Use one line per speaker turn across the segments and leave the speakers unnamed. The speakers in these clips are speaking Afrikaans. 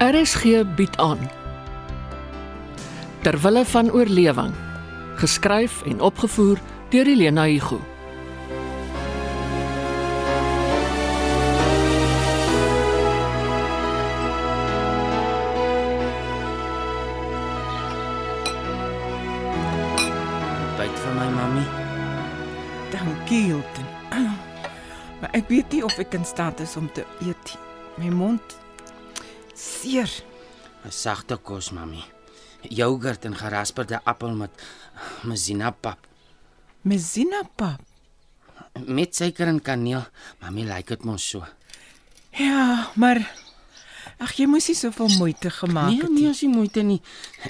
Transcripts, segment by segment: RSG bied aan Terwille van oorlewing geskryf en opgevoer deur Elena Igu
Byt vir my mammy.
Dankie, Hilton. Maar ek weet nie of ek in staat is om te eet nie. My mond seer.
'n Sagte kos, mammy. Jogurt en gerasperde appel met mazina pap
Mesina pap.
met suiker en kaneel. Mammy like dit mos so.
Ja, maar ag jy moes nie soveel moeite gemaak
Nee,
het
nee,
nie.
as jy moeite nie.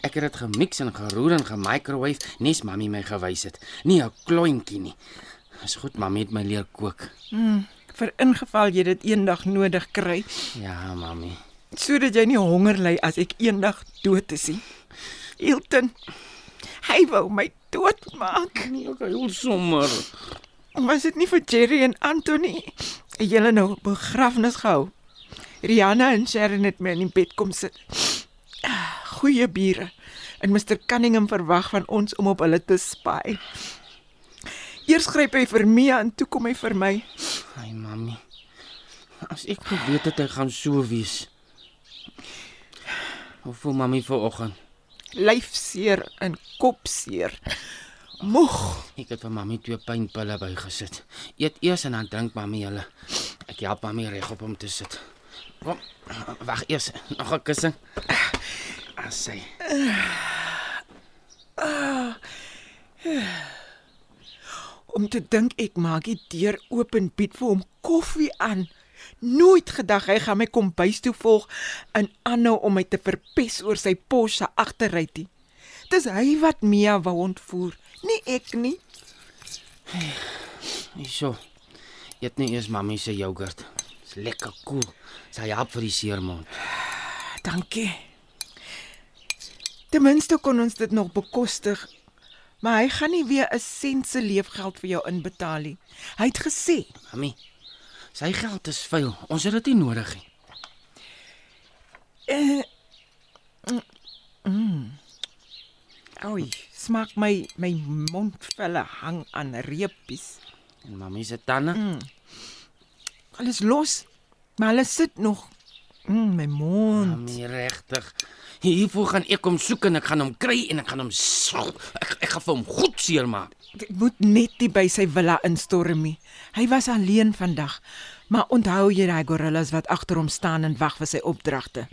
Ek het dit gemix en geroer en gemicrowave, nes mammy my gewys het. Nie 'n klontjie nie. Is goed, mammy het my leer kook.
Vir ingeval jy dit eendag nodig kry,
Ja, mammy.
sodat jy nie honger ly as ek eendag dood is nie. Hilton. Hy wou my doodmaak.
Nee, ek huil sommer.
Was dit nie vir Jerry en Anthony? Het Julle nou 'n begrafnis gehou. Rihanna en Sharon het my in die bed kom sit. Ah, Goeie bure. En Mr Cunningham verwag van ons om op hulle te spy. Eers gryp hy vir Mia en toe kom hy vir my.
Ai, mammy. As ek geweet het hy gaan so wees. Hoe voel mammy vanoggend?
Lyfseer en kopseer. Moeg.
Ek het vir mami twee pynpille bygesit. Eet eers en dan drink mami hulle. Ek help mami regop om te sit. Kom. Wag eers. Nog 'n kussing. Ah, Asai.
Om te dink ek maak die deur oop en bied vir hom koffie aan. Nooit gedag hy gaan my kombuis toe volg en aanhou om my te verpes oor sy pos se agterrytie. Dis hy wat Mia wou ontvoer, nie ek nie.
Hierso. Eet nie eers mami se jogurt. Dis lekker koel. Cool. Sy help vir die seermond.
Dankie. Ten minste kon ons dit nog bekostig. Maar hy gaan nie weer 'n sent se leefgeld vir jou inbetaal nie. Hy het gesê,
Mami. Sy geld is vuil. Ons het dit nie nodig nie.
Eh, mm, "Oei, smaak my my mondvelle hang aan reepies."
En mami se tande. Mm.
Alles los. Maar hulle sit nog. Mm, my mond.
Mami regtig. Hiervoor gaan ek hom soek en ek gaan hom kry en ek gaan hom sal. Ek ek gaan vir hom goed seermaak.
Dit moet net nie by sy villa instorm nie. Hy was alleen vandag. Maar onthou jy daai gorillas wat agter hom staan en wag vir sy opdragte?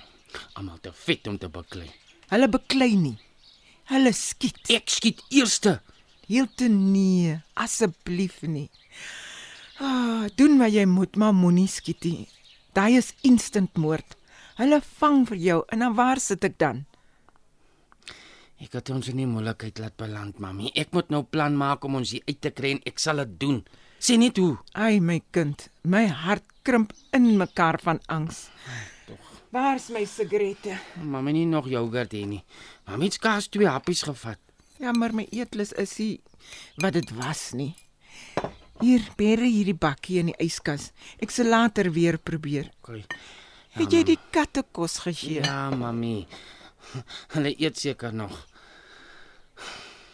Almal te vet om te beklei.
Hulle beklei nie. Hulle skiet.
Ek skiet eerste.
Hilton nee, asseblief nie. Ah, doen wat jy moet, maar moenie skiet nie. Daai is instant moord. Hulle vang vir jou en dan waar sit ek dan?
Ek het ons nie moeilikheid laat beland, mami. Ek moet nou plan maak om ons hier uit te kry en ek sal dit doen. Sê net hoe.
Ai my kind, my hart krimp in mekaar van angs. Tog. Waar's my sigarette?
Mami nie nog jogurt hê nie. Mami het skaars twee happies gevat.
Jammer my eetlus is nie wat dit was nie. Hier bere hierdie bakkie in die yskas. Ek sal later weer probeer.
Okay.
Het jy die katte kos gegee?
Ja, mami. Hulle eet seker nog.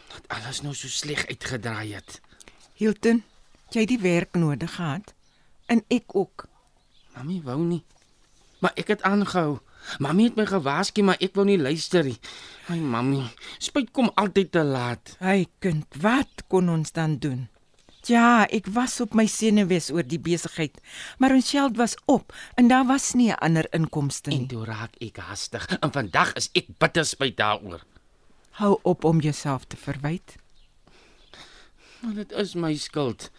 Dat alles nou so sleg uitgedraai het.
Hilton, jy het die werk nodig gehad en ek ook.
Mami wou nie. Maar ek het aangehou. Mami het my gewaarsku, maar ek wou nie luister nie. Ai, mami. Spyt kom altyd te laat.
Hy kind, wat kon ons dan doen? Ja, ek was op my senuwees oor die besigheid, maar ons geld was op en daar was nie 'n ander inkomste nie.
En toe raak ek hastig en vandag is ek bitter spyt daaroor.
Hou op om jouself te verwyd.
Maar dit is my skuld.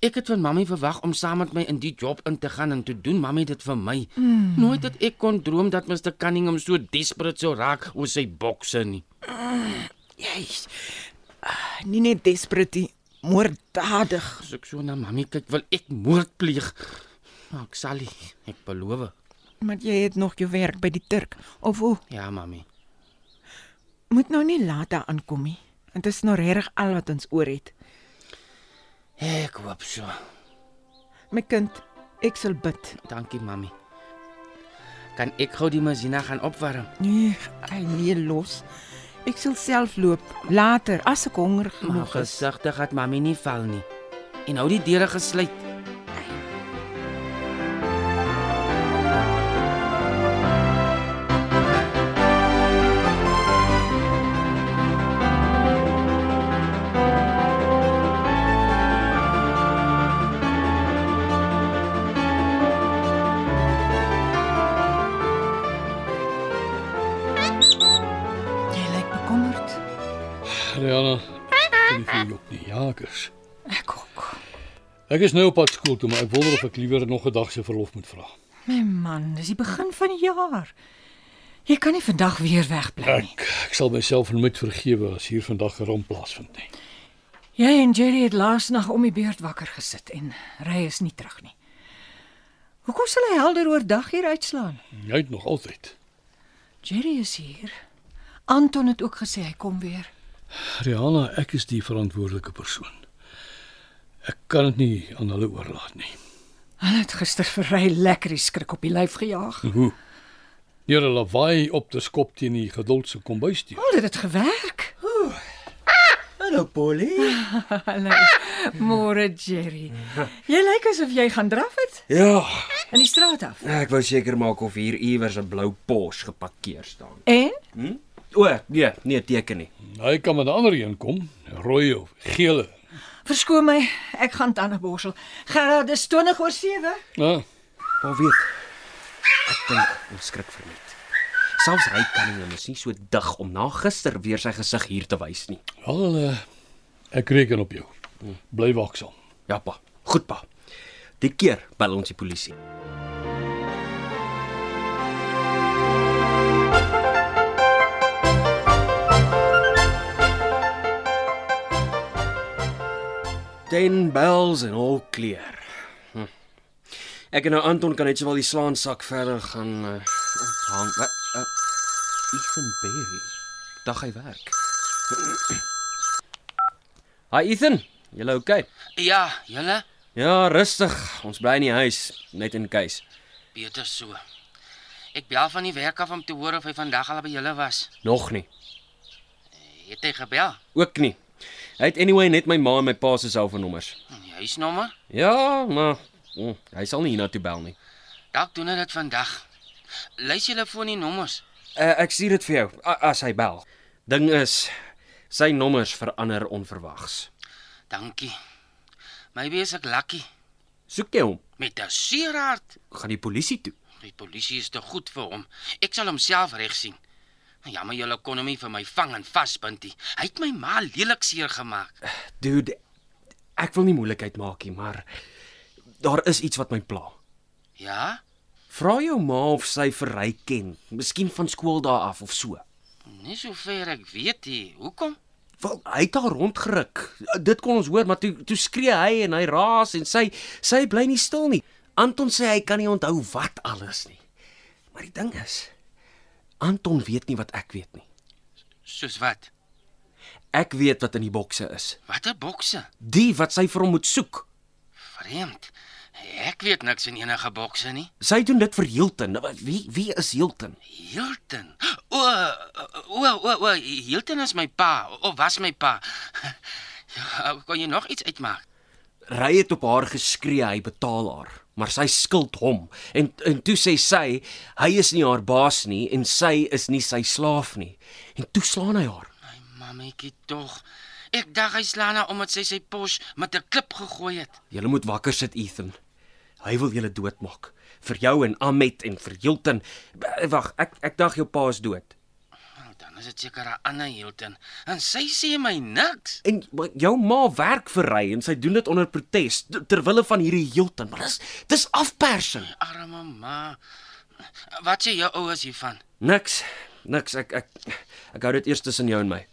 Ek het van mammy verwag om saam met my in die job in te gaan en toe doen mammy dit vir my. Mm. Nooit het ek kon droom dat Mr Cunningham so desperate sou raak oor sy bokse nie.
Jy ah, nie net desperaat nie, moorddadig.
As ek so na mammy kyk, wil ek moord pleeg. Maar ek sal nie, ek beloof.
Maar jy het nog jou werk by die Turk of hoe?
Ja, mammy.
Moet nou nie laat daar aankom nie. Dit is nou regtig al wat ons oor het.
Ek hoop so.
My kind, ek sal bid.
Dankie, mammy. Kan ek gou die masina gaan opwarm?
Nee, ai nee los. Ek sal self loop later as ek honger
Maar
gemaak is.
gesigtig dat mami nie val nie. En hou die deure gesluit.
Jy lyk bekommerd.
Rihanna, ek kan nie vir jou jok nie. Ja, ek is.
Ek ook.
Ek is nou op pad skool toe, maar ek wonder of ek liewer nog 'n dag se verlof moet vra.
My man, dis die begin van die jaar. Jy kan nie vandag weer wegbly nie.
Ek ek sal myself en moet vergewe as hier vandag 'n ramp plaasvind nie.
Jy en Jerry het laas nag om die beurt wakker gesit en Ry is nie terug nie. Hoekom sal hy helder oor dag hier uitslaan?
Jy het nog altyd.
Jerry is hier. Anton het ook gesê hy kom weer.
Rihanna, ek is die verantwoordelike persoon. Ek kan dit nie aan hulle oorlaat nie.
Hulle het gister vir Ry lekker die skrik op die lyf gejaag.
Hoe? Deur 'n lawaai op te skop teen die geduldse kombuisdeur.
Hoe het dit gewerk?
Hallo Polly.
Hallo. Môre Jerry. Jy lyk asof jy gaan draf het
Ja,
in die straat af.
ek wou seker maak of hier iewers 'n blou Porsche geparkeer staan.
En
O, nee, nee teken nie.
Hy kan met 'n ander een kom, rooi of gele.
verskoon my, ek gaan tande borsel. Gerard, dis 20 oor 7.
Ja,
Maar weet, ek dink ons skrik vir net. Selfs hy kan hom mos nie so dig om na gister weer sy gesig hier te wys nie.
wel eh, ek reken op jou. Bly waaksaam.
Ja pa, goed pa. Die keer bel ons die polisie. Ten bells en al kleur. Hm. Ek en nou Anton kan net sowel die slaansak verder gaan uh, onthang. Wat? Uh, Ethan Berry. Dag hy werk. Hi Ethan, jy lê okay?
Ja, julle,
Ja, rustig. Ons bly in die huis net in case.
beter so. Ek bel van die werk af om te hoor of hy vandag al by julle was.
Nog nie.
Het hy gebel?
Ook nie. Hy het anyway net my ma en my pa se selfoonnommers.
Hm, Die huisnommer?
Ja, maar mm, hy sal nie hiernatoe bel nie.
Dalk doen hy dit vandag. Lys julle foon die nommers.
Uh, ek stuur dit vir jou a- as hy bel. Ding is, sy nommers verander onverwags.
Dankie. Maybe is ek lucky
Soek jy hom?
met 'n seeraard.
Gaan die polisie toe.
Die polisie is te goed vir hom. Ek sal homself reg sien. Jammer julle kon hom nie vir my vang en vasbind nie. Hy het my ma lelik seer gemaak.
Dude, ek wil nie moeilikheid maak nie, maar daar is iets wat my pla.
Ja?
Vra jou ma of sy vir hy ken, miskien van skool daar af of so.
Nie so ver ek weet nie. Hoekom?
Wel, hy het haar rondgeruk. Dit kon ons hoor, maar toe toe skree hy en hy raas en sy sy bly nie stil nie. Anton sê hy kan nie onthou wat alles nie. Maar die ding is, Anton weet nie wat ek weet nie.
Soos wat?
Ek weet wat in die bokse is.
Watter bokse?
Die wat sy vir hom moet soek.
Vreemd. Ek weet niks van enige bokse nie.
Sy doen dit vir Hilton. Nou, Wie wie is Hilton?
Hilton. O, o, o, o, Hilton is my pa of was my pa. Ja, kon jy nog iets uitmaak?
Ry het op haar geskree, hy betaal haar, maar sy skuld hom. En en toe sê sy, hy is nie haar baas nie en sy is nie sy slaaf nie. En toe slaan hy haar.
My mammetjie tog. Ek dink hy slaan haar omdat sy sy pos met 'n klip gegooi het.
Julle moet wakker sit, Ethan. Hy wil julle doodmaak. Vir jou en Ahmet en vir Hilton. B- Wag, ek ek dink jou pa is dood.
Wel, Nou, dan is dit seker 'n ander Hilton. En sy sê my niks.
En maar jou ma werk vir hy en sy doen dit onder protes t- ter wille van hierdie Hilton. Maar dis dis afpersing.
Arme ma. Wat sê jou ouers hiervan?
Niks. Niks. Ek ek ek hou dit eers tussen jou en my.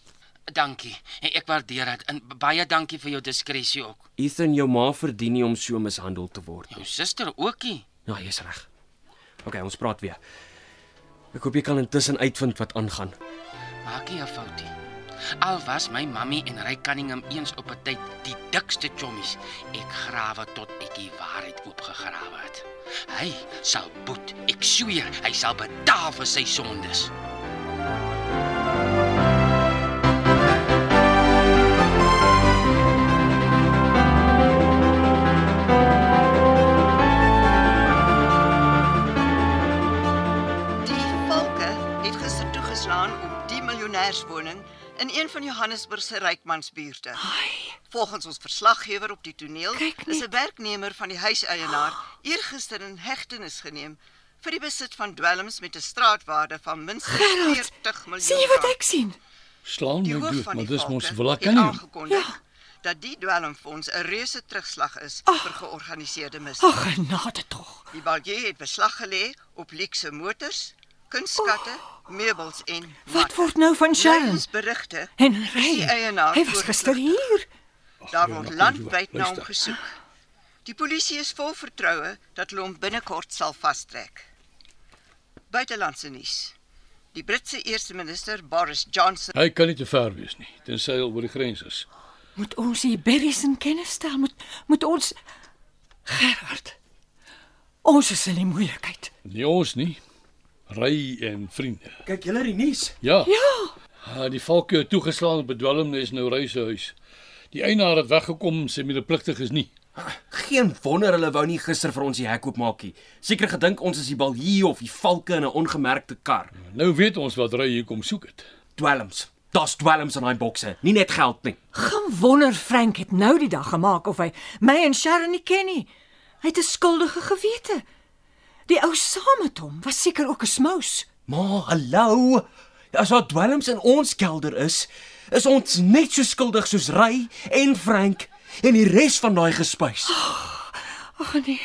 Dankie. Ek waardeer dit en baie dankie vir jou diskresie ook.
Ethan, jou ma verdien nie om so mishandel te word nie.
Jou suster ookie.
Ja, jy's reg. OK, ons praat weer. Ek hoop jy kan intussen uitvind wat aangaan.
Maak nie 'n fout nie. Al was my mammie en Ray Cunningham eens op 'n tyd die dikste chommies, ek grawe tot ek die waarheid oopgegrawe het. Hy sal boet, ek sweer, hy sal betaal vir sy sondes.
Die valke het gister toegeslaan op die miljonêerswoning in een van Johannesburg se rykmansbuurte. Volgens ons verslaggewer op die toneel
Kyk net.
is 'n werknemer van die huiseienaar eergister in hegtenis geneem vir die besit van dwelms met 'n straatwaarde van minstens
Gerard,
40 miljoen.
Sien jy wat
rand.
ek sien?
Slaan
Die
my
hoof
dood,
van
maar
die
dis mos
valke het
Willakanium.
aangekondig
Ja.
dat die dwelmfonds 'n reuse terugslag is vir georganiseerde misdaad.
Ag, genade tog.
Die balkie het beslag gelê op luukse motors, kunstskatte, oh. meubels en
Wat word nou van Sharon?
Ons berigte.
En
Die
Ray,
eienaar
hy was
voorgevlug.
gister hier.
Daar word
Jonathan,
landwyd na hom
luister.
gesoek. Die polisie is vol vertroue dat hulle hom binnekort sal vastrek. Buitelandse nuus. Die Britse eerste minister Boris Johnson
Hy kan nie te ver wees nie, tensy hy al oor die grens is.
Moet ons hier berries in kennis stel? Moet moet ons Gerard. Ons is in die moeilikheid.
Nie ons nie. Ry en vriende.
Kyk, julle die nuus.
Ja. Ja. Ah, die valke het toegeslaan op 'n dwelmnes nou reishuis. Die eienaar het weggekom, sy medepligtig is nie.
Geen wonder hulle wou nie gister vir ons die hek oopmaak nie. Seker gedink ons is die balhie of die valke in 'n ongemerkte kar.
Nou weet ons wat ry hier kom soek het.
Dwelms. Daar's dwelms in daai bokse, nie net geld nie.
Gaan wonder Frank het nou die dag gemaak of hy my en Sharon nie ken nie. Hy het 'n skuldige gewete. Die ou saam met hom was seker ook 'n smous.
Maar hallo, as daar dwelms in ons kelder is, is ons net so skuldig soos Ray en Frank en die res van daai gespuis.
Ag nee.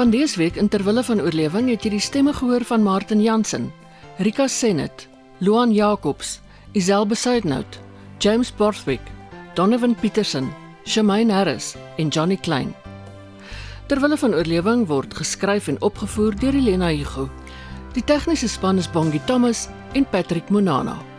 Van dese week in terwille van oorlewing het jy die stemme gehoor van Martin Jansen, Rika Senet, Luan Jacobs, Isel Besuidnout, James Borthwick, Donovan Petersen, Shamaine Harris en Johnny Klein. Terwille van oorlewing word geskryf en opgevoer deur Elena Igu. Die tegniese span is Bongie Thomas en Patrick Monano.